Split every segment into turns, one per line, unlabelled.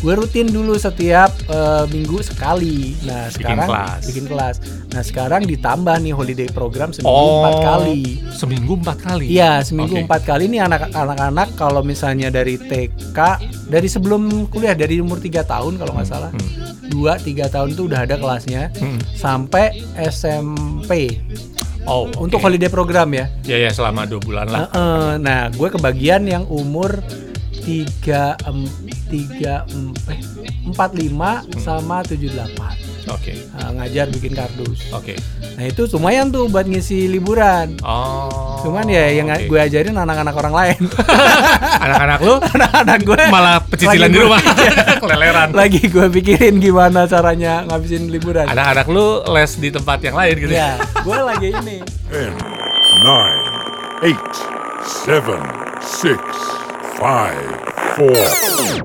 gue rutin dulu setiap eh, minggu sekali. Nah sekarang
kelas.
bikin kelas. Nah sekarang ditambah nih holiday program seminggu
Oh,
empat kali.
Seminggu empat kali.
Iya seminggu
Oke.
empat kali nih anak- anak-anak kalau misalnya dari TK dari sebelum kuliah dari umur 3 tahun kalau nggak salah
Hmm.
dua tiga tahun tuh udah ada kelasnya
Hmm.
sampai SMP
Oh,
untuk
oke.
holiday program ya.
Ya ya selama dua bulan lah.
Heeh. Nah, gue kebagian yang umur 3 em, 3 em, eh 45 sama 78.
Oke.
Nah, ngajar bikin kardus.
Oke.
Nah, itu lumayan tuh buat ngisi liburan.
Oh.
Cuman ya yang
oke.
gue ajarin anak-anak orang lain.
anak-anak lu
anak-anak gue
malah pecicilan
lagi Iya.
di
gue-
rumah. Keleleran.
lagi gue pikirin gimana caranya ngabisin liburan.
Anak-anak lu les di tempat yang lain gitu.
Ya, gue lagi ini.
10, 9, 8,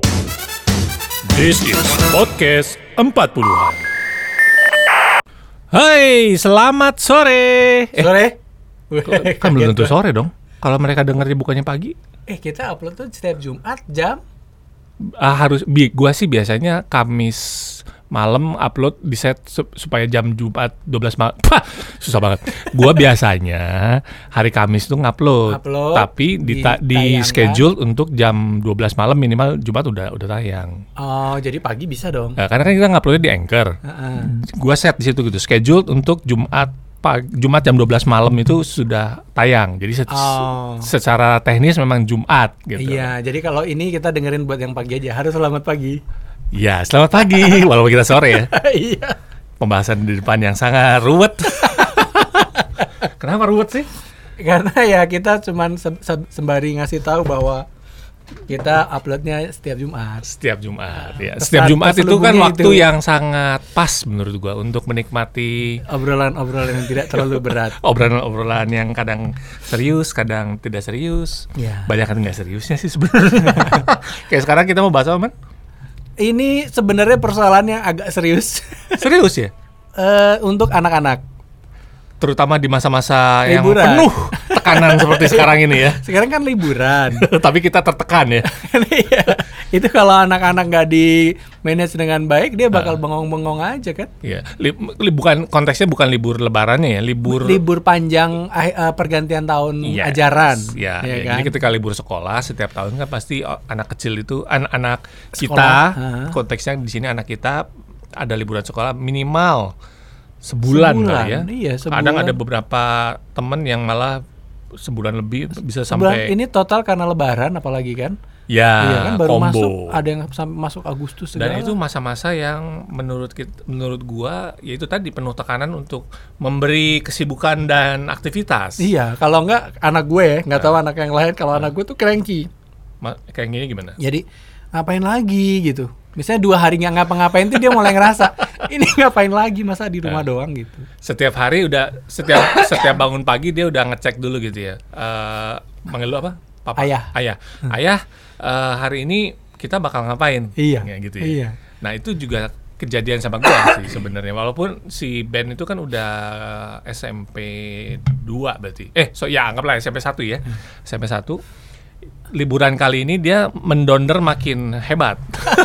7, 6, 5, 4.
This is podcast 40-an. Hai, selamat sore. Eh,
Sore.
kan belum tentu sore dong. Kalau mereka dengar dibukannya pagi,
Eh, kita upload tuh setiap Jumat jam
ah, harus bi gua sih biasanya Kamis malam upload di set sup- supaya jam Jumat 12 malam. susah banget. Gua biasanya hari Kamis tuh ngupload,
Upload, kan?
tapi di, ta- di
ditayangkan.
schedule untuk jam 12 malam minimal Jumat udah udah tayang.
Oh, jadi pagi bisa dong.
Nah, karena kan kita nguploadnya di Anchor.
Heeh.
Gua set di situ gitu, schedule untuk Jumat pag- Jumat jam 12 malam itu sudah tayang. Jadi se-
Oh.
secara teknis memang Jumat gitu.
Iya, jadi kalau ini kita dengerin buat yang pagi aja. Harus selamat pagi.
Ya, selamat pagi walaupun kita sore ya.
Iya.
Pembahasan di depan yang sangat ruwet. Kenapa ruwet sih?
Karena ya kita cuman se- se- sembari ngasih tahu bahwa kita uploadnya setiap Jumat.
Setiap Jumat ya.
Pesan
Setiap Jumat itu kan
terselubungnya
waktu
itu.
yang sangat pas menurut gua untuk menikmati
Obrolan-obrolan yang tidak terlalu berat.
obrolan-obrolan yang kadang serius, kadang tidak serius.
Iya.
Banyak kan nggak seriusnya sih sebenarnya. Kayak sekarang kita mau bahas apa, Man?
Ini sebenarnya persoalan yang agak serius
Serius ya?
eh untuk anak-anak.
Terutama di masa-masa yang
Liburan.
penuh tekanan seperti sekarang ini ya.
Sekarang kan liburan.
Tapi kita tertekan ya.
Iya. Itu kalau anak-anak nggak di manage dengan baik, dia
Ah.
bakal bengong-bengong aja kan.
Iya, li- li- bukan konteksnya bukan libur lebarannya ya, libur
libur panjang ah- eh, pergantian tahun
Yes,
ajaran
Ya,
ya
ya.
kan?
Jadi ketika libur sekolah setiap tahun kan pasti o- anak kecil itu anak-anak kita
Sekolah, ha.
konteksnya di sini anak kita ada liburan sekolah minimal sebulan,
Sebulan,
kali ya.
iya, sebulan.
Kadang ada beberapa temen yang malah sebulan lebih
Sebulan
bisa sampai
ini total karena lebaran apalagi kan
ya
iya kan baru
combo.
masuk ada yang sampai masuk Agustus segala
Dan itu masa-masa yang menurut kit- menurut gua yaitu tadi penuh tekanan untuk memberi kesibukan dan aktivitas.
iya kalau nggak anak gue nggak tahu anak yang lain kalau anak gue tuh cranky
Ma- Kayak gini gimana?
jadi ngapain lagi gitu misalnya dua hari nggak ngapa-ngapain tuh dia mulai ngerasa ini ngapain lagi masa di
Ah.
rumah doang gitu
setiap hari udah setiap setiap bangun pagi dia udah ngecek dulu gitu ya Eh manggil lu apa papa
Ayah. Hmm.
ayah ayah eh, hari ini kita bakal ngapain
Iya.
Ya, gitu ya
Iya.
nah itu juga kejadian sama gua sih sebenarnya walaupun si Ben itu kan udah SMP 2 berarti eh so ya anggaplah SMP 1 ya
Hmm.
SMP 1 liburan kali ini dia mendonder makin hebat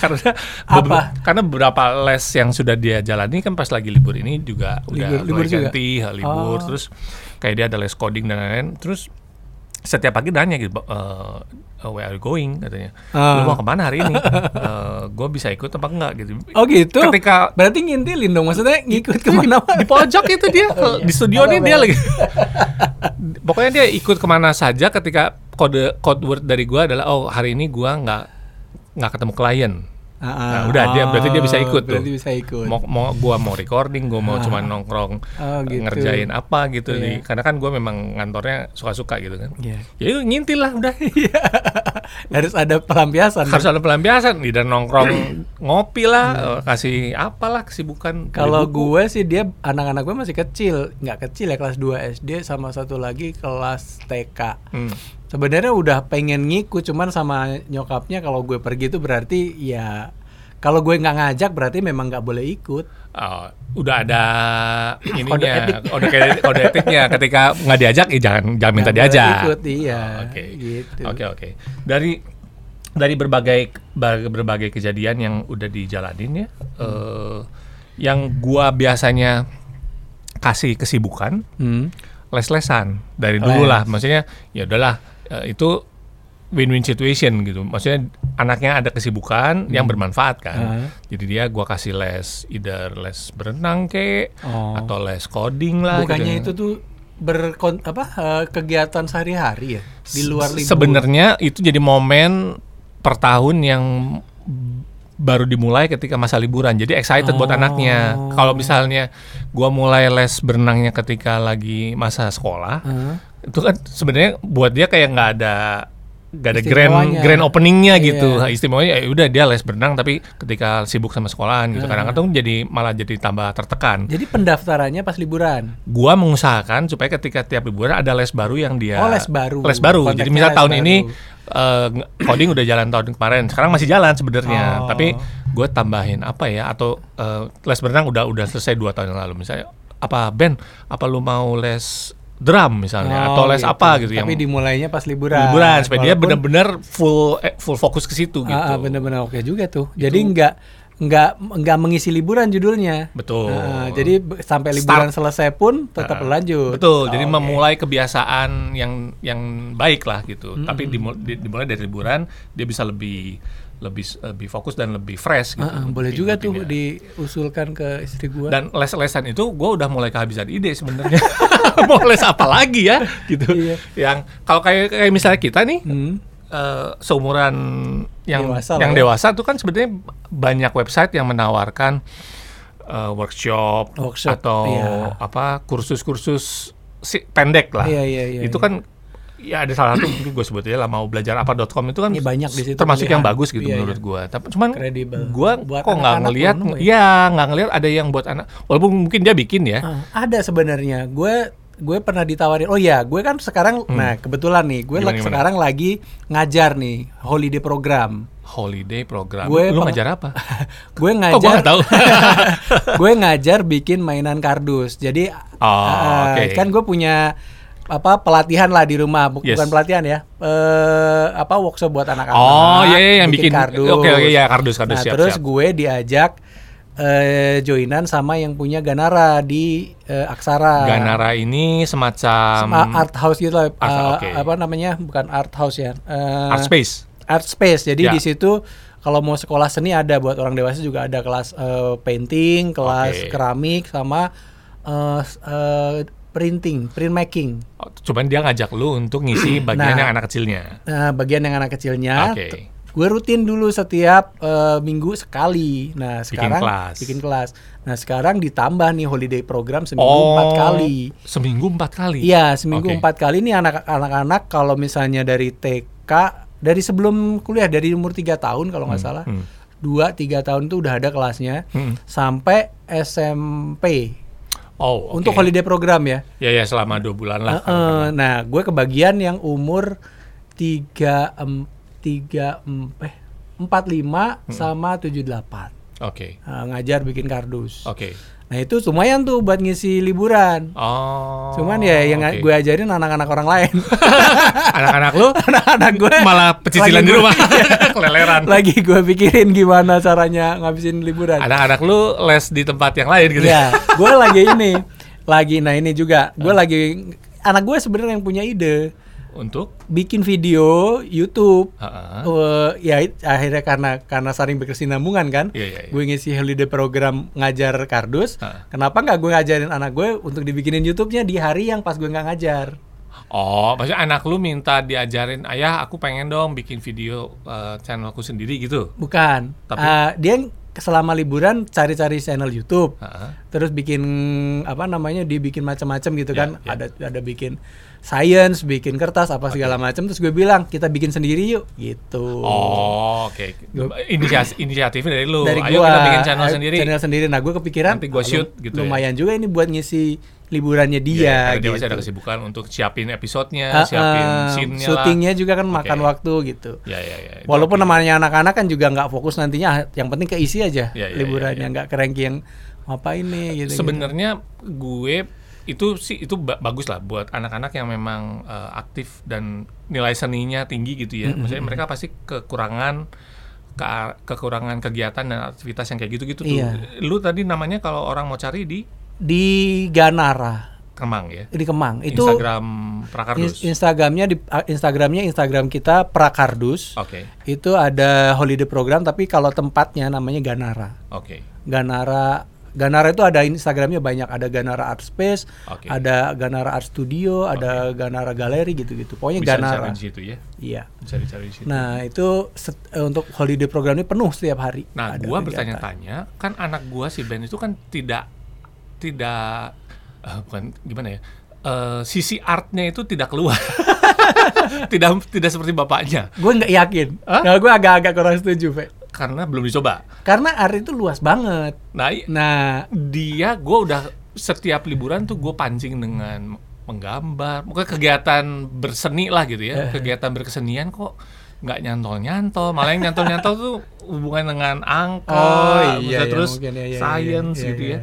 karena
Apa?
karena beberapa les yang sudah dia jalani kan pas lagi libur ini juga udah
Libur- libur
mulai
juga?
ganti ha, libur
Oh.
terus kayak dia ada les coding dan lain-lain terus setiap pagi nanya gitu "Ba- eh, eh, where are you going katanya
Ah.
lu mau kemana hari ini gue bisa ikut apa enggak gitu
oh gitu
ketika
berarti ngintilin dong maksudnya ngikut kemana
di pojok itu dia
Oh, iya.
di studio nih dia lagi pokoknya dia ikut kemana saja ketika kode code word dari gua adalah oh hari ini gua nggak nggak ketemu klien Nah, udah, dia- berarti dia bisa ikut
Ah,
tuh.
berarti bisa ikut
mau mau gua mau recording gua mau cuma nongkrong
Ah. Oh, gitu.
ngerjain apa gitu
Iya.
di- karena kan gua memang ngantornya suka-suka gitu kan
Iya.
ya itu ngintil lah udah
harus ada pelampiasan
harus ada pelampiasan nih dan nongkrong ngopi lah eh, kasih apalah kesibukan beli
Iya. Kalau
buku.
gue sih dia anak-anak gue masih kecil, nggak kecil ya kelas 2 SD sama satu lagi kelas TK.
Hmm.
Sebenarnya udah pengen ngikut cuman sama nyokapnya kalau gue pergi itu berarti ya kalau gue nggak ngajak berarti memang nggak boleh ikut.
Oh, udah ada ininya
Kode etik.
kode kode, kode etiknya ketika nggak diajak ya jangan jangan minta
Nggak boleh
diajak
Ikut iya.
oke
Gitu.
oke oke dari dari berbagai berbagai kejadian yang udah dijalanin ya eh, yang gua biasanya kasih kesibukan
Hmm.
les-lesan dari dulu
Les.
lah maksudnya ya udahlah eh, itu win-win situation gitu maksudnya anaknya ada kesibukan yang bermanfaat kan
Hmm. Ah.
jadi dia gua kasih les either les berenang ke
Oh.
atau les coding lah
Bukannya
gitu.
itu tuh berkon apa eh, kegiatan sehari-hari ya di luar
Se-
libur.
Sebenarnya itu jadi momen per tahun yang baru dimulai ketika masa liburan. Jadi excited buat
Oh.
anaknya. Kalau misalnya gua mulai les berenangnya ketika lagi masa sekolah,
Heeh.
itu kan sebenarnya buat dia kayak nggak ada nggak ada grand
Istimewanya.
grand openingnya
Iya.
gitu. Nah, Istimewanya ya udah dia les berenang tapi ketika sibuk sama sekolahan gitu kadang-kadang jadi malah jadi tambah tertekan.
Jadi pendaftarannya pas liburan.
Gua mengusahakan supaya ketika tiap liburan ada les baru yang dia
Oh, les baru.
les baru
Konteksnya
jadi misal
les
tahun
baru.
ini eh, nge- coding udah jalan tahun kemarin sekarang masih jalan sebenarnya
Oh.
tapi gue tambahin apa ya atau eh, les berenang udah udah selesai dua tahun yang lalu misalnya apa band apa lu mau les drum misalnya atau
Oh,
les apa gitu yang
Tapi dimulainya pas liburan.
liburan supaya dia
Walaupun-
benar-benar full eh, full fokus ke situ gitu
Ah, ah, benar-benar oke juga tuh. Jadi nggak nggak nggak mengisi liburan judulnya.
Betul.
Ah,
Ah,
jadi be- sampai liburan selesai pun tetap lanjut.
Betul, jadi
Oh,
memulai kebiasaan yang yang baik lah gitu.
Hmm.
Tapi dimul- di- dimulai dari liburan dia bisa lebih lebih lebih fokus dan lebih fresh gitu.
ah, ah, boleh
rutin-
juga tuh
rutinnya.
diusulkan ke istri gua.
Dan les-lesan itu gue udah mulai kehabisan ide sebenarnya. Mau les apa lagi ya gitu.
Iya.
Yang kalau kayak kayak misalnya kita nih
Hmm.
eh, seumuran yang
Dewasa lah
yang
ya.
dewasa tuh kan sebenarnya banyak website yang menawarkan eh, workshop,
Workshop,
atau
iya.
apa kursus-kursus si- pendek lah.
Iya, iya, iya, iya.
itu kan ya ada salah satu gue sebut aja lah mau belajar apa.com itu kan
Iya, banyak di situ
termasuk yang
pilihan.
bagus gitu
Iya,
menurut
iya.
gua. Tapi cuman
Credible.
gua
Buat
kok nggak
anak-anak
ngelihat
belum ya?
ya nggak ngelihat ada yang buat anak walaupun mungkin dia bikin ya.
Ah, ada sebenarnya. Gue gue pernah ditawarin. Oh ya, gue kan sekarang nah kebetulan nih, gue
Hmm. Gimana,
lak-
gimana?
sekarang lagi ngajar nih holiday program.
Holiday program.
Gue
Lu
peng-
ngajar apa?
gue
Oh, gua
ngajar
nggak tahu.
gue ngajar bikin mainan kardus. Jadi
Oh,
eh,
oke.
kan gue punya apa pelatihan lah di rumah, Bu-
Yes.
bukan pelatihan ya. Eh apa workshop buat anak-anak.
Oh, iya, iya, yang bikin-
kardus.
oke, oke, iya, kardus, kardus,
Nah,
siap,
terus
siap.
gue diajak eh joinan sama yang punya Ganara di eh, Aksara.
Ganara ini semacam
Sama art house gitu lah,
art-
eh,
oke.
apa namanya? Bukan art house ya. eh,
art space.
art space. Jadi
Ya.
di situ kalau mau sekolah seni ada buat orang dewasa juga ada kelas eh, painting, kelas
Oke.
keramik sama eh, s- eh, printing, printmaking.
Oh, Cuman dia ngajak lu untuk ngisi
Nah.
bagian yang anak kecilnya.
Nah, bagian yang anak kecilnya
Oke.
t- gue rutin dulu setiap eh, minggu sekali. Nah, sekarang
kelas.
bikin kelas. Nah, sekarang ditambah nih holiday program seminggu
Oh.
empat kali.
Seminggu empat kali.
Iya, seminggu
Oke.
empat kali nih anak- anak-anak kalau misalnya dari TK dari sebelum kuliah dari umur 3 tahun kalau nggak salah.
hmm.
dua tiga tahun tuh udah ada kelasnya
Hmm.
sampai SMP
Oh, oke.
untuk holiday program ya.
Ya ya selama dua bulan lah.
Eh, eh, nah, gue kebagian yang umur 3 em, 3 em, eh 45
Hmm.
sama 78.
Oke.
Nah, ngajar bikin kardus.
Oke.
Nah, itu lumayan tuh buat ngisi liburan.
Oh.
Cuman ya yang
oke.
gue ajarin anak-anak orang lain.
anak-anak lu
anak-anak gue
malah pecicilan
lagi
di
gue-
rumah. Keleleran.
lagi gue pikirin gimana caranya ngabisin liburan.
Anak-anak lu les di tempat yang lain gitu.
Iya, gue lagi ini, lagi nah ini juga, gue lagi anak gue sebenarnya yang punya ide
Untuk ah,
bikin video YouTube.
Heeh.
Eh, ya it- akhirnya karena karena saring berkesinambungan kan,
Iya, iya, iya.
gue ngisi holiday program ngajar kardus.
Heeh.
Kenapa nggak gue ngajarin anak gue untuk dibikinin YouTube-nya di hari yang pas gue nggak ngajar?
Oh, maksudnya anak lu minta diajarin, "Ayah, aku pengen dong bikin video eh, channelku sendiri gitu."
Bukan.
Tapi-
Eh, dia yang selama liburan cari-cari channel YouTube.
Heeh.
terus bikin apa namanya dia bikin macam-macam gitu
Ya,
kan
ya.
ada ada bikin science bikin kertas apa segala macam terus gue bilang kita bikin sendiri yuk gitu
Oh, oke. Inisiasi inisiatifnya dari lu.
dari
Ayo
gua
kita bikin channel
ayo
sendiri.
channel sendiri nah gue kepikiran
Nanti
ah,
gua shoot
lum-
gitu ya. Iya,
lumayan juga ini buat ngisi liburannya dia
karena dia
gitu
masih ada kesibukan untuk siapin
Ah,
episodenya, siapin
ah,
scene-nya lah.
syutingnya juga kan makan
Oke.
waktu gitu
Ya, ya, ya. Itu
Walaupun
oke.
namanya anak-anak kan juga nggak fokus nantinya, yang penting keisi aja
Ya, ya, ya,
liburannya nggak kerengki yang apa ini gitu.
sebenarnya gue itu sih itu ba- bagus lah buat anak-anak yang memang eh, aktif dan nilai seninya tinggi gitu ya.
Mm-hmm.
Maksudnya mereka pasti kekurangan ke- kekurangan kegiatan dan aktivitas yang kayak gitu-gitu tuh.
Iya.
Lu tadi namanya kalau orang mau cari di
di Ganara
Kemang ya.
di Kemang itu
Instagram
in-
Prakardus.
Instagramnya di Instagramnya Instagram kita Prakardus
Oke,
itu ada holiday program tapi kalau tempatnya namanya Ganara
oke.
Ganara Ganara itu ada Instagramnya banyak ada Ganara Art Space
Oke.
ada Ganara Art Studio ada Ganara Galeri gitu-gitu pokoknya
Bisa
Ganara
dicari di situ ya.
iya
Bisa dicari di situ. Nah,
nah itu set- eh, untuk holiday program ini penuh setiap hari Ada
Nah,
kegiatan.
gua bertanya-tanya, kan anak gua si Ben itu kan tidak tidak eh, bukan gimana ya? eh, sisi artnya itu tidak keluar. tidak tidak seperti bapaknya
gue nggak yakin
Hah?
nah, gue agak-agak kurang setuju Fe.
karena belum dicoba.
karena art itu luas banget
Nah, i-
nah
dia gue udah setiap liburan tuh gue pancing dengan menggambar, bukan kegiatan berseni lah gitu ya, kegiatan berkesenian kok nggak nyantol nyantol, malah yang nyantol nyantol tuh hubungan dengan angka,
Oh, iya,
maksudnya
iya,
terus
mungkin, iya, iya,
science
iya, iya,
gitu
iya.
ya.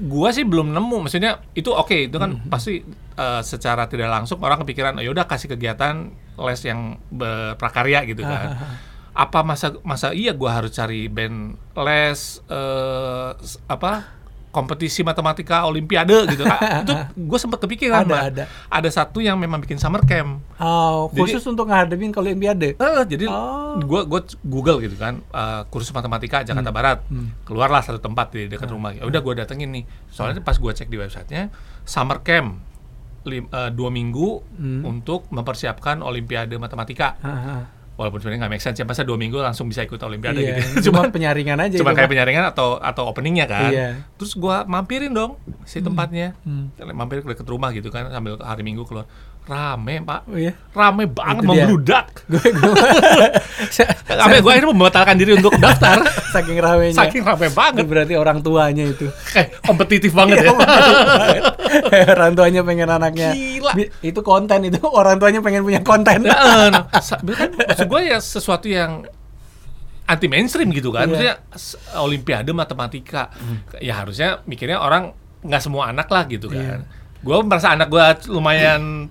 Gua sih belum nemu, maksudnya itu oke, itu kan
Mm-hmm.
pasti eh, secara tidak langsung orang kepikiran, oh, yaudah kasih kegiatan les yang berprakarya gitu kan. Apa masa masa iya gua harus cari band les eh, s- apa kompetisi matematika olimpiade gitu. Ah, itu gue sempat kepikiran,
Ada,
Mbak.
ada.
Ada satu yang memang bikin summer camp.
oh,
Jadi-
khusus untuk ngadepin kalau Olimpiade
Eh, jadi
Oh. Hmm.
gua gua Google gitu kan eh, kursus matematika Jakarta Barat. Keluarlah satu tempat di dekat rumah. Ya udah gua datengin nih.
Hmm.
Soalnya pas gua cek di websitenya summer camp lim- eh, dua minggu
Hmm.
untuk mempersiapkan Olimpiade Matematika.
Haha.
Walaupun sebenarnya nggak make sense ya masa dua minggu langsung bisa ikut Olimpiade
Iya,
gitu.
cuma
Cuman
penyaringan aja
cuma
itu,
kayak
Pak.
penyaringan atau atau openingnya kan
Iya. Hmm.
terus gua mampirin dong si tempatnya mampir ke deket rumah gitu kan sambil hari minggu keluar rame pak
Oh, iya.
rame
Itu
banget
dia.
membludak
Sa-
sampai gua akhirnya membatalkan diri untuk daftar
saking ramenya
saking rame
Itu
banget
berarti orang tuanya itu
kayak kompetitif banget
Iya,
ya
orang tuanya pengen anaknya
Gila.
Bi- itu konten itu orang tuanya pengen punya konten
Heeh. Sa- kan maksud gua ya sesuatu yang anti mainstream gitu kan
Iya.
maksudnya s- olimpiade matematika ya harusnya mikirnya orang nggak semua anak lah gitu
Iya.
kan Gua merasa anak gua lumayan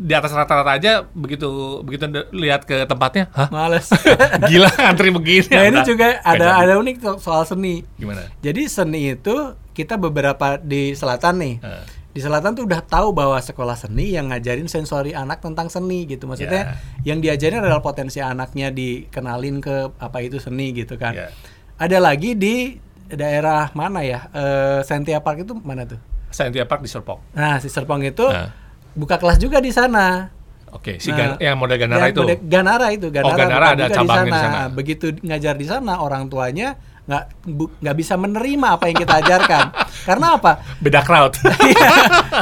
di atas rata-rata aja begitu begitu de- lihat ke tempatnya hah
males
gila antri begini
nah ini
Ya Udah.
juga
Nggak
ada
jadi.
ada unik so- soal seni
gimana
jadi seni itu kita beberapa di selatan nih
Heeh.
di selatan tuh udah tahu bahwa sekolah seni yang ngajarin sensori anak tentang seni gitu maksudnya yang diajarin adalah potensi anaknya dikenalin ke apa itu seni gitu kan
Iya.
ada lagi di daerah mana ya Eh, Sentia Park itu mana tuh
Scientia Park di Serpong
Nah, si Serpong itu
Nah.
buka kelas juga di sana.
oke si
Nah,
Gan- yang model Ganara
Ya,
itu Oh,
Gode- Ganara itu, Ganara, buka
Ganara ada
juga
cabangnya di sana.
Begitu ngajar di sana, orang tuanya nggak bu- nggak bisa menerima apa yang kita ajarkan. Karena apa?
beda crowd
Iya.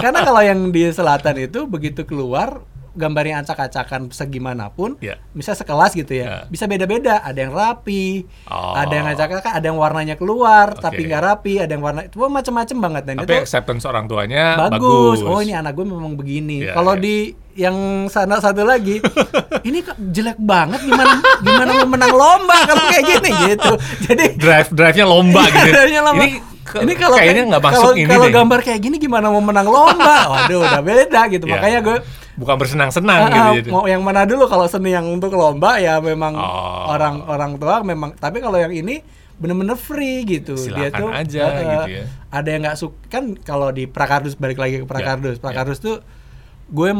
Karena kalau yang di selatan itu begitu keluar gambarnya acak-acakan segimanapun,
Iya.
bisa sekelas gitu ya,
Iya.
bisa beda-beda. Ada yang rapi,
Oh.
ada yang acak-acakan, ada yang warnanya keluar
Oke.
tapi nggak rapi, ada yang warna, itu macam-macam banget dan
tapi
itu
acceptance orang tuanya
bagus.
bagus,
Oh ini anak gue memang begini.
Iya,
Kalau
iya.
di yang sana satu lagi, ini kok jelek banget gimana gimana mau menang lomba kalau kayak gini gitu. Jadi
drive drive nya lomba gitu
adanya Iya, lomba.
ini, ke- kayaknya nggak
kalau,
masuk ini
kalau
deh.
gambar kayak gini gimana mau menang lomba? Waduh, udah beda gitu.
Iya.
Makanya gue
bukan bersenang-senang
ah,
gitu
ah,
jadi.
mau yang mana dulu kalau seni yang untuk lomba ya memang
Oh.
orang-orang tua memang. Tapi kalau yang ini bener-bener free gitu. Dia
Silakan
tuh
aja,
eh,
gitu ya.
Ada yang nggak suka kan kalau di Prakardus balik lagi ke
ya.
Prakardus. Prakardus tuh gue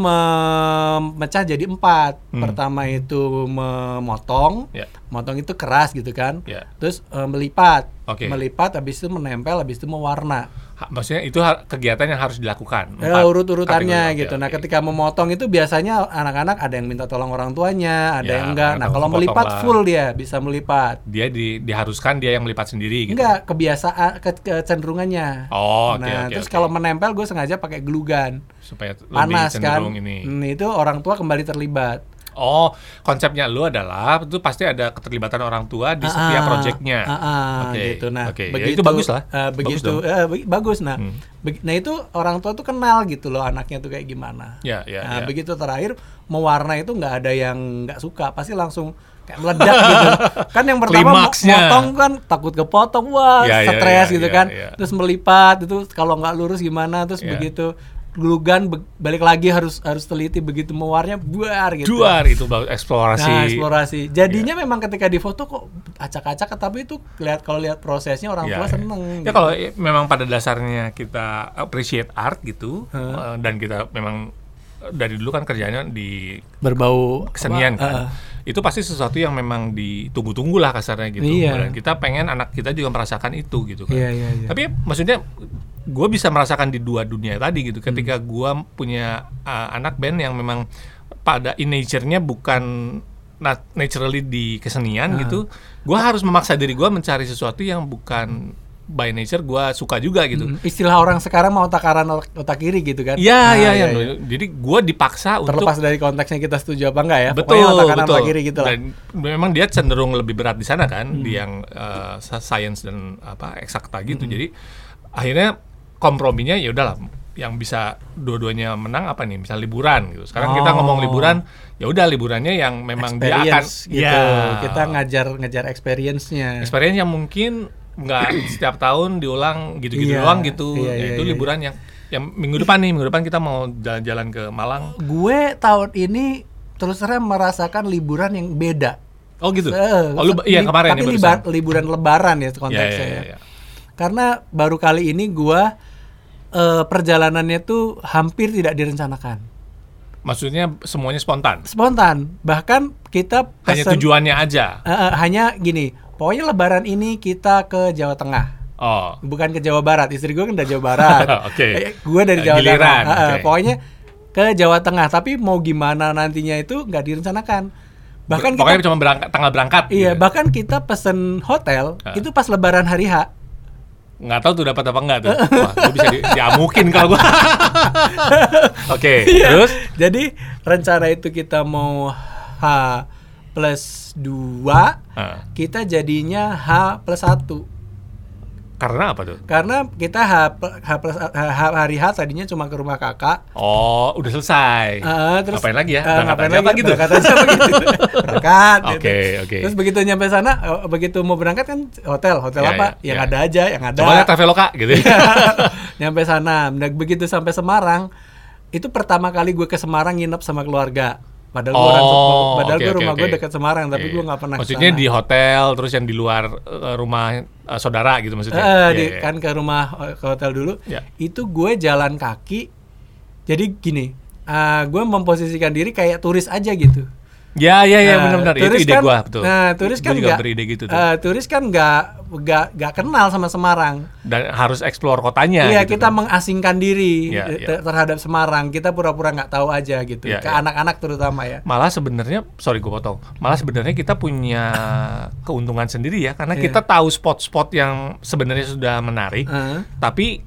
memecah jadi empat. Pertama itu memotong,
Hmm. Ya.
motong itu keras gitu kan.
Ya.
Terus eh, melipat,
Oke.
melipat, habis itu menempel, habis itu mewarna.
Ha- maksudnya itu ha- kegiatan yang harus dilakukan
Ya,
Empat
urut-urutannya
kategori.
gitu.
Oke,
Nah,
oke.
ketika memotong itu biasanya anak-anak ada yang minta tolong orang tuanya, ada
Ya,
yang enggak.
orang
Nah,
tua
kalau
potong
melipat
lah.
full dia bisa melipat.
dia di, diharuskan dia yang melipat sendiri gitu
Enggak, kebiasaan ke- kecenderungannya.
Oh, oke,
Nah,
oke,
terus
oke.
kalau menempel gue sengaja pakai glugan.
supaya lebih
Panas kan.
cenderung ini
Hmm, itu orang tua kembali terlibat.
Oh, konsepnya lu adalah itu pasti ada keterlibatan orang tua di setiap
Ah,
proyeknya.
ah, ah,
Oke,
gitu. Nah,
oke. Ya, itu bagus lah.
eh,
Bagus
begitu
dong. Hmm.
eh, beg- bagus, Nah, beg- nah itu orang tua tuh kenal gitu loh anaknya tuh kayak gimana.
Ya, ya,
nah,
ya.
begitu terakhir mewarna itu nggak ada yang nggak suka, pasti langsung kayak meledak gitu. Kan yang pertama mo-
Klimaksnya.
motong kan takut kepotong, wah
Ya, ya,
stres
ya,
gitu
ya,
kan.
ya.
Terus melipat itu kalau nggak lurus gimana, terus
Ya.
begitu glugan be- balik lagi harus harus teliti begitu mewarnya buar gitu.
Juar itu bagus eksplorasi. Iya.
Nah, eksplorasi. Jadinya memang ketika di foto kok acak-acak, tapi itu lihat kalau lihat prosesnya orang
Ya,
tua
ya.
seneng.
Ya
gitu.
kalau i- memang pada dasarnya kita appreciate art gitu eh, dan kita memang eh, dari dulu kan kerjanya di
berbau apa,
kesenian kan.
eh,
Itu pasti sesuatu yang memang ditunggu-tunggu lah kasarnya gitu.
Iya.
Dan kita pengen anak kita juga merasakan itu gitu kan.
Iya, iya, iya.
Tapi maksudnya gue bisa merasakan di dua dunia tadi gitu. Ketika
Hmm.
gua punya uh, anak band yang memang pada in nature-nya bukan nat- naturally di kesenian gitu, gua harus memaksa diri gua mencari sesuatu yang bukan by nature gua suka juga gitu.
mm, istilah orang sekarang mau takaran otak, otak kiri gitu kan?
Iya,
Nah,
iya, iya. Jadi gua dipaksa untuk
Terlepas dari konteksnya kita setuju apa enggak ya?
betul,
pokoknya otak kanan
betul.
otak kiri gitu lah. Hmm.
Dan memang dia cenderung lebih berat di sana kan, di yang eh, sa- science dan apa eksakta gitu. Jadi akhirnya komprominya ya udahlah yang bisa dua-duanya menang apa nih? Misal liburan gitu. Sekarang kita
Oh.
ngomong liburan, ya udah liburannya yang memang dia akan
Experience gitu.
Ya.
Kita ngajar ngejar experience-nya.
experience yang mungkin nggak setiap tahun diulang gitu-gitu
Iya,
doang gitu.
iya,
Ya
iya,
itu
iya.
liburan yang yang minggu depan nih, minggu depan kita mau jalan-jalan ke Malang.
Gue tahun ini terus terang merasakan liburan yang beda.
Oh gitu.
Eh,
oh, lu, iya
li-
kemarin
tapi
ya barusan.
libar- liburan lebaran ya
Iya,
konteksnya
iya,
ya.
iya, iya.
karena baru kali ini gua eh, perjalanannya tuh hampir tidak direncanakan
Maksudnya semuanya spontan.
spontan bahkan kita
Hanya
pesen-
tujuannya aja.
Eh, eh, hanya gini pokoknya lebaran ini kita ke Jawa Tengah
Oh.
bukan ke Jawa Barat istri gue kan dari Jawa Barat
Oke.
Eh, gue dari
Eh,
Jawa
giliran,
Tengah Eh, eh,
oke.
pokoknya ke Jawa Tengah tapi mau gimana nantinya itu nggak direncanakan bahkan
Ber- pokoknya
kita
cuma berangkat tanggal berangkat.
iya
gitu.
bahkan kita pesen hotel
Ah.
itu pas lebaran hari H
Nggak tahu tuh dapat apa enggak tuh. Wah, itu bisa di, diamukin kalau gua. Oke,
Iya.
terus
Jadi rencana itu kita mau H plus 2
Ah,
Kita jadinya H plus 1
karena apa tuh?
Karena kita H, pl- H plus H, hari H tadinya cuma ke rumah kakak
Oh, udah selesai.
Ah, terus
ngapain lagi
eh,
ya? Berangkat
ngapain
aja
lagi
apa gitu?
Berangkat aja apa gitu? Berangkat, gitu.
Oke, oke.
Terus begitu nyampe sana eh, Begitu mau berangkat kan hotel Hotel
Ya,
apa?
ya,
yang
ya.
ada aja Yang ada
Coba lihat Traveloka
Iya,
gitu.
nyampe sana. Nah, begitu sampai Semarang, itu pertama kali gue ke Semarang nginep sama keluarga. Padahal gue orang
Oh,
Sep- padahal
oke,
gue
oke,
rumah gue
oke.
dekat Semarang, tapi
Oke.
gue nggak pernah.
Maksudnya
kesana.
di hotel terus yang di luar eh, rumah eh, saudara gitu maksudnya.
Eh,
Iya,
di-
iya.
kan ke rumah eh, ke hotel dulu.
Ya.
Itu gue jalan kaki. Jadi gini, ah, gue memposisikan diri kayak turis aja gitu.
Ya, ya, ya,
Nah,
benar-benar. Itu
turis
ide
kan-
gua, betul.
Nah, turis
Gua
kan
juga
nggak-
beride gitu tuh.
eh, turis kan nggak nggak nggak kenal sama Semarang.
Dan harus explore kotanya
Iya,
gitu
kita
kan.
mengasingkan diri
Iya,
ter-
iya.
ter- terhadap Semarang. Kita pura-pura nggak tahu aja gitu.
Iya,
Ke
iya.
anak-anak terutama ya.
malah sebenarnya sorry gue potong malah sebenarnya kita punya keuntungan sendiri ya karena
Iya.
kita tahu spot-spot yang sebenarnya sudah menarik
Heeh.
tapi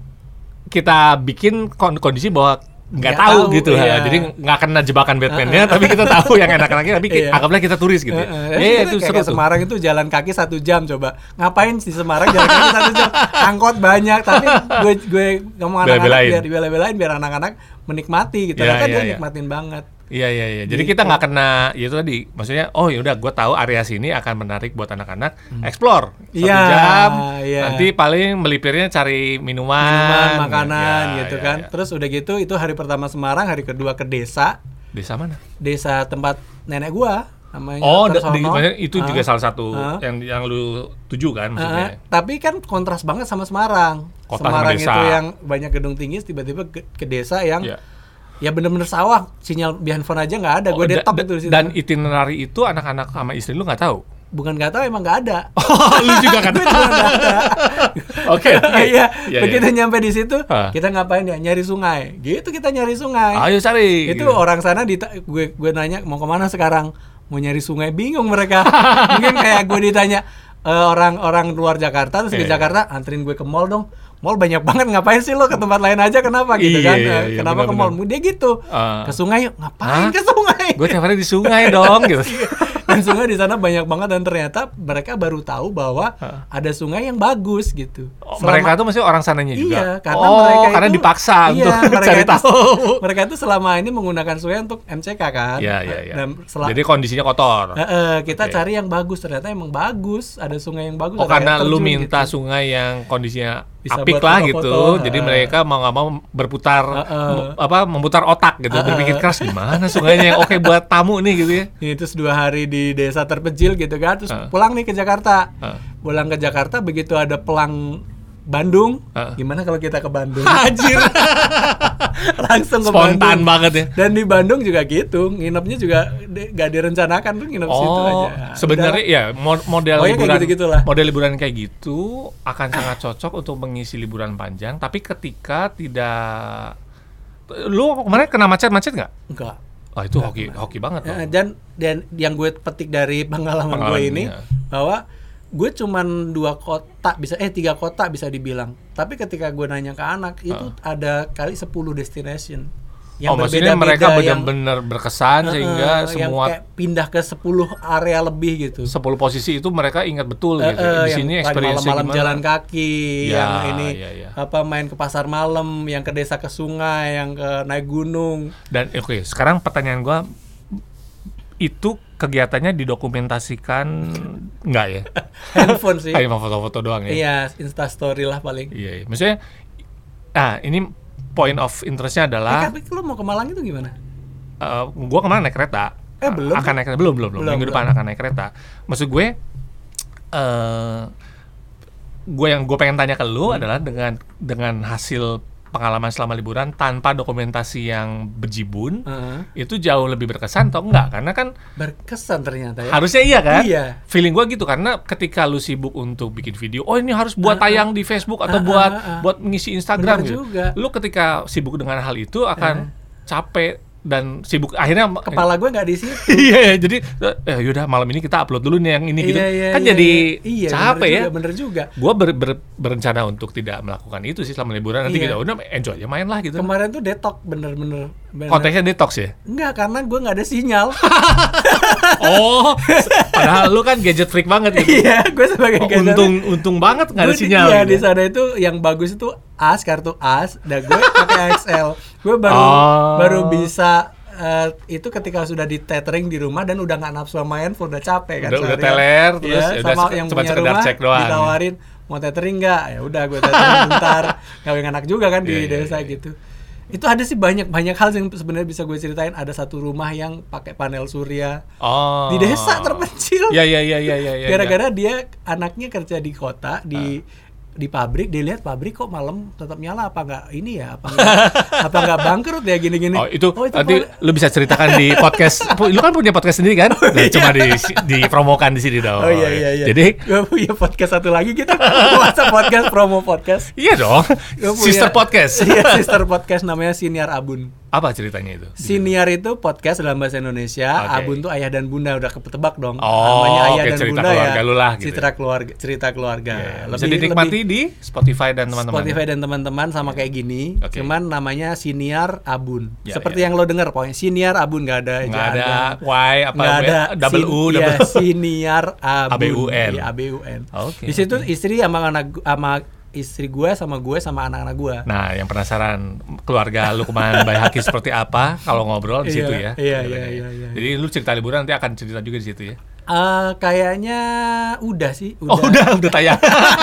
kita bikin kon- kondisi bahwa nggak
Nggak
tahu,
tahu,
gitu
iya.
ya jadi nggak kena jebakan Batman-nya tapi kita tahu yang enak-enaknya tapi ki-
Iya.
anggaplah kita turis gitu ya
Heeh.
Iya, iya,
Terus
itu
kayak ke
seru tuh
Semarang itu jalan kaki satu jam coba. Ngapain di Semarang jalan kaki satu jam? Angkot banyak, tapi gue gue ngomong anak-anak
Bela-belain.
biar bela-belain biar anak-anak menikmati gitu.
Iya,
Ternyata
iya,
dia
iya.
nikmatin banget.
Iya iya iya. Jadi kita nggak kena ya itu tadi. Maksudnya oh ya udah gue tahu area sini akan menarik buat anak-anak explore satu
Hmm. Iya,
jam.
iya.
Nanti paling melipirnya cari minuman,
Minuman, makanan
Ya,
gitu
ya,
kan.
ya.
Terus udah gitu itu hari pertama Semarang, hari kedua ke desa,
Desa mana?
desa tempat nenek gua namanya
Oh, da-
Kersono.
di- maksudnya itu
Ah.
juga salah satu
Ah.
yang yang lu tuju
Heeh,
kan maksudnya.
tapi kan kontras banget sama Semarang.
Kota sama
Semarang
desa.
itu yang banyak gedung tinggi, tiba-tiba ke, ke desa yang
Iya.
ya bener-bener sawah, sinyal handphone aja nggak ada. Gue
Oh, da-
detop
da-
itu di situ.
Dan itinerary itu anak-anak sama istri lu nggak tahu.
bukan nggak tahu emang nggak ada.
lu juga kan.
Gue cuma Oh, nggak ada.
Oke. oke.
Iya,
Iya,
begitu
iya.
nyampe di situ,
Ah.
kita ngapain ya? Nyari sungai. Gitu kita nyari sungai.
Ayo cari.
itu
gitu.
orang sana dita- gue gue nanya mau kemana sekarang mau nyari sungai bingung mereka mungkin kayak gue ditanya e, orang-orang "Eh, luar Jakarta terus ke
Iya, iya.
Jakarta anterin gue ke mall dong mall banyak banget ngapain sih lo ke tempat lain aja kenapa gitu
Iya,
kan
iya,
Eh,
iya,
kenapa ke mall
benar-benar.
dia gitu
Ah.
ke sungai yuk ngapain
Hah?
ke sungai
Gue tiap hari di sungai dong gitu.
dan sungai di sana banyak banget dan ternyata mereka baru tahu bahwa ada sungai yang bagus gitu
Oh,
Selama-
mereka tuh masih orang sananya juga.
Iya, karena
oh,
mereka
karena
itu-
dipaksa
iya,
untuk
mereka
cari
itu-
tahu.
mereka itu selama ini menggunakan sungai untuk MCK kan
Iya, iya, iya.
dan sel-
Jadi kondisinya kotor.
Eh, eh, kita
Oke.
cari yang bagus ternyata emang bagus ada sungai yang bagus
Oh
ada
karena
air
lu
terjun
minta
gitu.
sungai yang kondisinya
Bisa
apik
buat
lah
foto-foto,
gitu,
ha.
jadi mereka mau nggak mau berputar
Heeh.
mu- apa memutar otak gitu,
Heeh.
berpikir keras gimana sungainya yang oke buat tamu nih gitu ya.
Iya, terus dua hari di desa terpencil gitu kan terus
Heeh.
pulang nih ke Jakarta
Heeh.
pulang ke Jakarta begitu ada pelang Bandung
Heeh.
gimana kalau kita ke Bandung
Anjir,
langsung ke
spontan
Bandung.
banget ya.
dan di Bandung juga gitu nginepnya juga di- nggak direncanakan tuh nginep situ
Oh,
aja
sebenarnya ya mo-
Pokoknya
model
kayak
liburan
gitu-gitulah.
model liburan kayak gitu akan sangat cocok untuk mengisi liburan panjang. Tapi ketika tidak, lu kemarin kena macet-macet nggak?
enggak
Ah itu hoki hoki banget.
Eh,
loh.
dan dan yang gue petik dari pengalaman, gue
Pengalaman,
ini
iya.
bahwa gue cuman dua kota bisa eh tiga kota bisa dibilang tapi ketika gue nanya ke anak itu ada kali 10 destination
oh maksudnya mereka
yang-
benar-benar berkesan
eh,
sehingga
eh, yang
semua
kayak pindah ke 10 area lebih gitu
10 posisi itu mereka ingat betul
Eh, eh,
gitu. Di
yang
sini
tadi
experience
malam-malam jalan kaki
Ya,
yang ini
ya, ya.
apa main ke pasar malam yang ke desa ke sungai yang ke naik gunung
Dan eh, oke, sekarang pertanyaan gua itu kegiatannya didokumentasikan nggak ya?
handphone sih
Hanya foto-foto doang ya.
iya instastory lah paling
Iya, iya. Maksudnya ah ini point of interestnya
Eh,
adalah
tapi lo mau ke Malang itu gimana
eh, gua kemarin naik kereta.
Eh, belum.
Akan naik kereta. Belum, belum, belum.
Belum,
Minggu depan
belum.
akan naik kereta. Maksud gue eh gue yang gue pengen tanya ke
Hmm.
lu adalah dengan dengan hasil pengalaman selama liburan tanpa dokumentasi yang berjibun
Heeh.
itu jauh lebih berkesan atau enggak karena kan
berkesan ternyata ya.
harusnya iya kan
Iya.
feeling gua gitu karena ketika lu sibuk untuk bikin video oh ini harus buat tayang di Facebook
Ah,
atau
ah,
buat
ah, ah.
buat ngisi Instagram
Bener
gitu
juga. Eh.
lu ketika sibuk dengan hal itu akan capek dan sibuk akhirnya
Kepala gue nggak di situ.
iya jadi eh, yaudah malam ini kita upload dulu nih yang ini gitu
Iya, iya,
kan
iya,
jadi
iya. Iya, bener
capek ya
Juga, bener juga.
gue ber, ber- berencana untuk tidak melakukan itu sih selama liburan nanti
Iya.
kita udah enjoy aja main lah gitu
Kemarin tuh detok bener-bener. bener.
konteksnya detox ya
Enggak, karena gue nggak ada sinyal.
oh se- padahal lu kan gadget freak banget gitu
Iya, gue sebagai
Oh,
gadget-
untung untung banget nggak ada
Gua di-
sinyal
Iya,
gitu
di
ya.
sana itu yang bagus itu AS, kartu AS. Dan gue pakai XL. Gue baru
Oh.
baru bisa eh, itu ketika sudah di tethering di rumah dan udah nggak nafsu sama handphone udah capek kan
Udah- udah
seharian.
teler, terus
Iya,
ya udah
sama
se-
yang
cuman
punya
sekedar
rumah
cek doang.
ditawarin mau tethering nggak ya udah gue tethering bentar kawin anak juga kan di
Iya, iya,
desa
iya.
gitu itu ada sih banyak banyak hal yang sebenarnya bisa gue ceritain ada satu rumah yang pakai panel surya
Oh.
di desa terpencil
Ya ya ya ya ya. ya,
gara-gara dia anaknya kerja di kota
Ah.
di di pabrik dia lihat pabrik kok malam tetap nyala apa nggak ini ya apa nggak apa nggak bangkrut ya gini-gini
ya. Oh itu, nanti
paling-
lu bisa ceritakan di podcast. Pu- Lu kan punya podcast sendiri kan? Nah, Cuma di dipromokan di sini
iya.
dong.
oh, iya iya iya
Jadi
gue punya podcast satu lagi kita masa podcast promo podcast
iya dong.
Gua punya-
Sister podcast.
iya sister podcast namanya siniar abun
Apa ceritanya itu?
Siniar itu podcast dalam bahasa Indonesia.
Oke.
Abun tuh ayah dan bunda udah ketebak dong.
Oh,
Namanya ayah
oke,
dan
cerita
bunda
keluarga
ya.
lu lah gitu
Cerita keluarga, cerita keluarga.
Ya, bisa dinikmati di Spotify dan
Iya,
teman-teman. Iya.
Spotify dan teman-teman sama kayak gini,
Oke.
cuman namanya Siniar Abun.
Ya,
Seperti yang lo denger pokoknya Siniar Abun nggak ada
Nggak ada
ejaan.
Y apa
Nggak ada
double
Sin-
U
iya,
double U.
Siniar Abun.
ABUN.
Iya, ABUN.
Oke,
Di situ istri sama anak sama istri gue sama gue sama anak-anak gue.
Nah, yang penasaran keluarga Lukman Bay Haki seperti apa kalau ngobrol
Iya,
di situ ya.
iya,
Ceritanya
iya,
ya.
iya, iya.
Jadi lu cerita liburan nanti akan cerita juga di situ ya.
Eh, kayaknya udah sih, udah. Iya,
Oh udah udah tayang.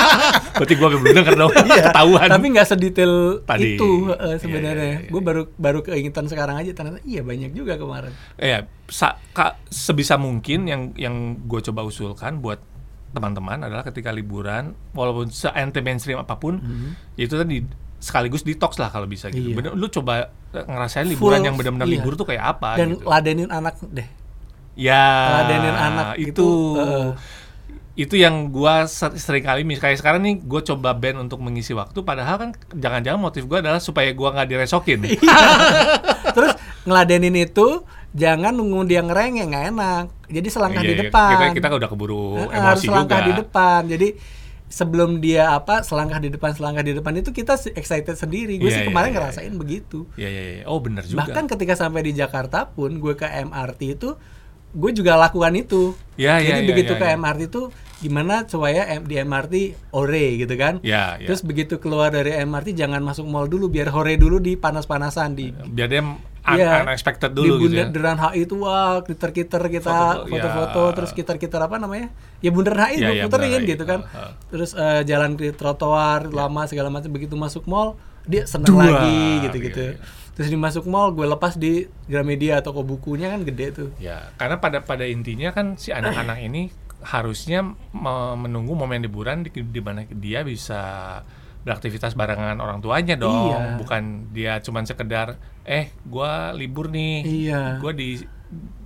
Berarti gua belum denger dong. Ketahuan.
Tapi nggak sedetail
Tadi.
itu eh,
Iya,
sebenarnya.
iya, iya,
Gue baru baru keingetan sekarang aja ternyata iya banyak juga kemarin.
ya sa- ka- sebisa mungkin yang yang gue coba usulkan buat teman-teman adalah ketika liburan walaupun se anti mainstream apapun yaitu tadi sekaligus detox lah kalau bisa gitu.
Hmm. Iya.
Bener, lu coba eh, ngerasain
Full,
liburan yang benar-benar
iya.
libur tuh kayak apa
Dan
gitu.
ladenin anak deh.
ya
ladenin anak
itu
gitu, eh.
itu yang gua ser- sering kali mis kayak sekarang nih gue coba band untuk mengisi waktu padahal kan jangan-jangan motif gua adalah supaya gua nggak diresokin
Iya. Terus ngeladenin itu jangan nunggu dia ngerengek nggak enak. Jadi selangkah
Iya,
di
iya.
depan.
Kita, kita udah keburu
Eh,
emosi
harus
juga.
selangkah di depan. Jadi sebelum dia apa selangkah di depan selangkah di depan itu kita se- excited sendiri. Gue
Iya,
sih
iya,
kemarin
iya,
ngerasain begitu.
Iya, iya, iya. Oh, bener juga.
Bahkan ketika sampai di Jakarta pun gue ke MRT itu gue juga lakukan itu.
Iya, iya,
Jadi
iya,
begitu
iya,
ke
iya.
MRT itu gimana supaya em- di MRT ore gitu kan.
Iya, iya.
Terus begitu keluar dari MRT jangan masuk mall dulu biar hore dulu di panas-panasan di
biar dia un-
Iya.
unexpected
di
dulu gitu ya.
bundaran HI itu wah kiter-kiter kita
Foto-foto,
foto-foto
ya.
terus kiter-kiter apa namanya ya bundaran HI
Ya,
gue
ya,
puterin
bundaran HI,
gitu kan
ha, ha.
terus eh, jalan ke trotoar lama segala macam begitu masuk mall dia seneng
Iya. Dua.
lagi gitu-gitu
Iya, iya.
terus dimasuk mall gue lepas di Gramedia toko bukunya kan gede tuh
Ya, karena pada pada intinya kan si anak-anak ini harusnya me- menunggu momen liburan di, di mana dia bisa beraktivitas barengan orang tuanya dong,
Iya.
bukan dia cuman sekedar eh gua libur nih.
Iya.
Gua di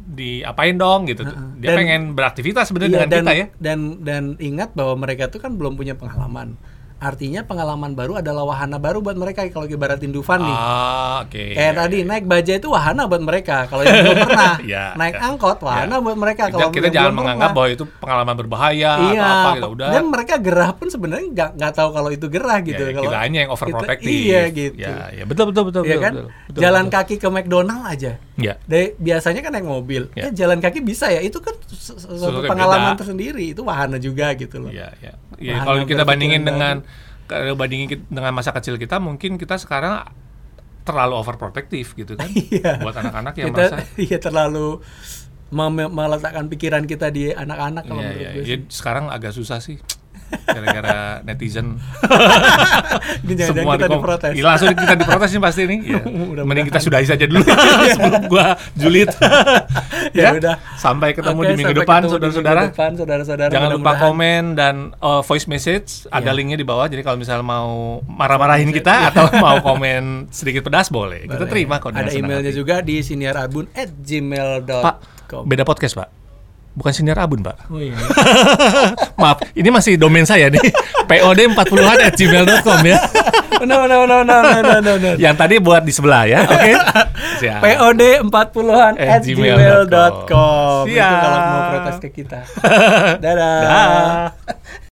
di apain dong gitu. tuh.
Heeh.
Dia
Dan-
pengen beraktivitas sebenarnya
Iya,
dengan
dan,
kita ya.
dan dan ingat bahwa mereka tuh kan belum punya pengalaman artinya pengalaman baru adalah wahana baru buat mereka kalau ibaratin Dufan nih
Ah, oke.
Kayak tadi naik baja itu wahana buat mereka kalau yang belum pernah.
Iya,
naik
iya.
angkot wahana
Iya.
buat mereka
Kita,
kalau
kita
yang
jangan
belum
menganggap
pernah.
bahwa itu pengalaman berbahaya
iya,
atau apa gitu. Udah.
Dan mereka gerah pun sebenarnya nggak nggak tahu kalau itu gerah gitu.
ya, ya,
kalau
kita hanya yang overprotective.
kita- Iya gitu.
Ya, ya betul betul betul.
Iya
betul,
kan?
betul, betul,
jalan
betul.
kaki ke McDonald aja.
Ya.
Dari, biasanya kan naik mobil.
Iya.
Ya, jalan kaki bisa ya. Itu kan su- su-
Sesuatu
suatu
yang
pengalaman
beda.
tersendiri. Itu wahana juga gitu loh.
Iya, iya. Ya,
Wahana
kalau kita
berpikiran
bandingin
baru.
dengan kalau bandingin kit- dengan masa kecil kita, mungkin kita sekarang terlalu overprotective gitu kan.
Iya.
Buat anak-anak yang
kita
merasa
iya terlalu mem- meletakkan pikiran kita di anak-anak kalau
Iya,
menurut
iya.
gue.
Ya, sekarang agak susah sih gara-gara netizen
Ini jangan-jangan
semua
kita
dikom-
diprotes.
Iya, langsung kita diprotes nih pasti nih. Iya.
Mudah-mudahan.
Mending kita sudahi saja dulu sebelum gua julid.
Ya udah.
Sampai ketemu
Oke,
di minggu
sampai
depan
ketemu di
saudara-saudara.
minggu depan, saudara-saudara.
Jangan lupa
Mudah-mudahan- Ya.
komen dan uh, voice message ada linknya di bawah. Jadi kalau misalnya mau marah-marahin kita atau mau komen sedikit pedas boleh. Kita
Boleh.
terima kok.
Ada
dengan senang
emailnya
hati.
juga di siniarabun@gmail.com.
Pak, beda podcast pak. Bukan senior abun pak.
Oh iya.
Maaf, ini masih domain saya nih. pod 40 an at gmail.com ya.
No no no no no no no. no.
Yang tadi buat di sebelah ya, oke? Siap.
POD 40-an at
gmail.com.
gmail.com. Itu
Siap.
kalau mau protes ke kita. Dadah.
Dah.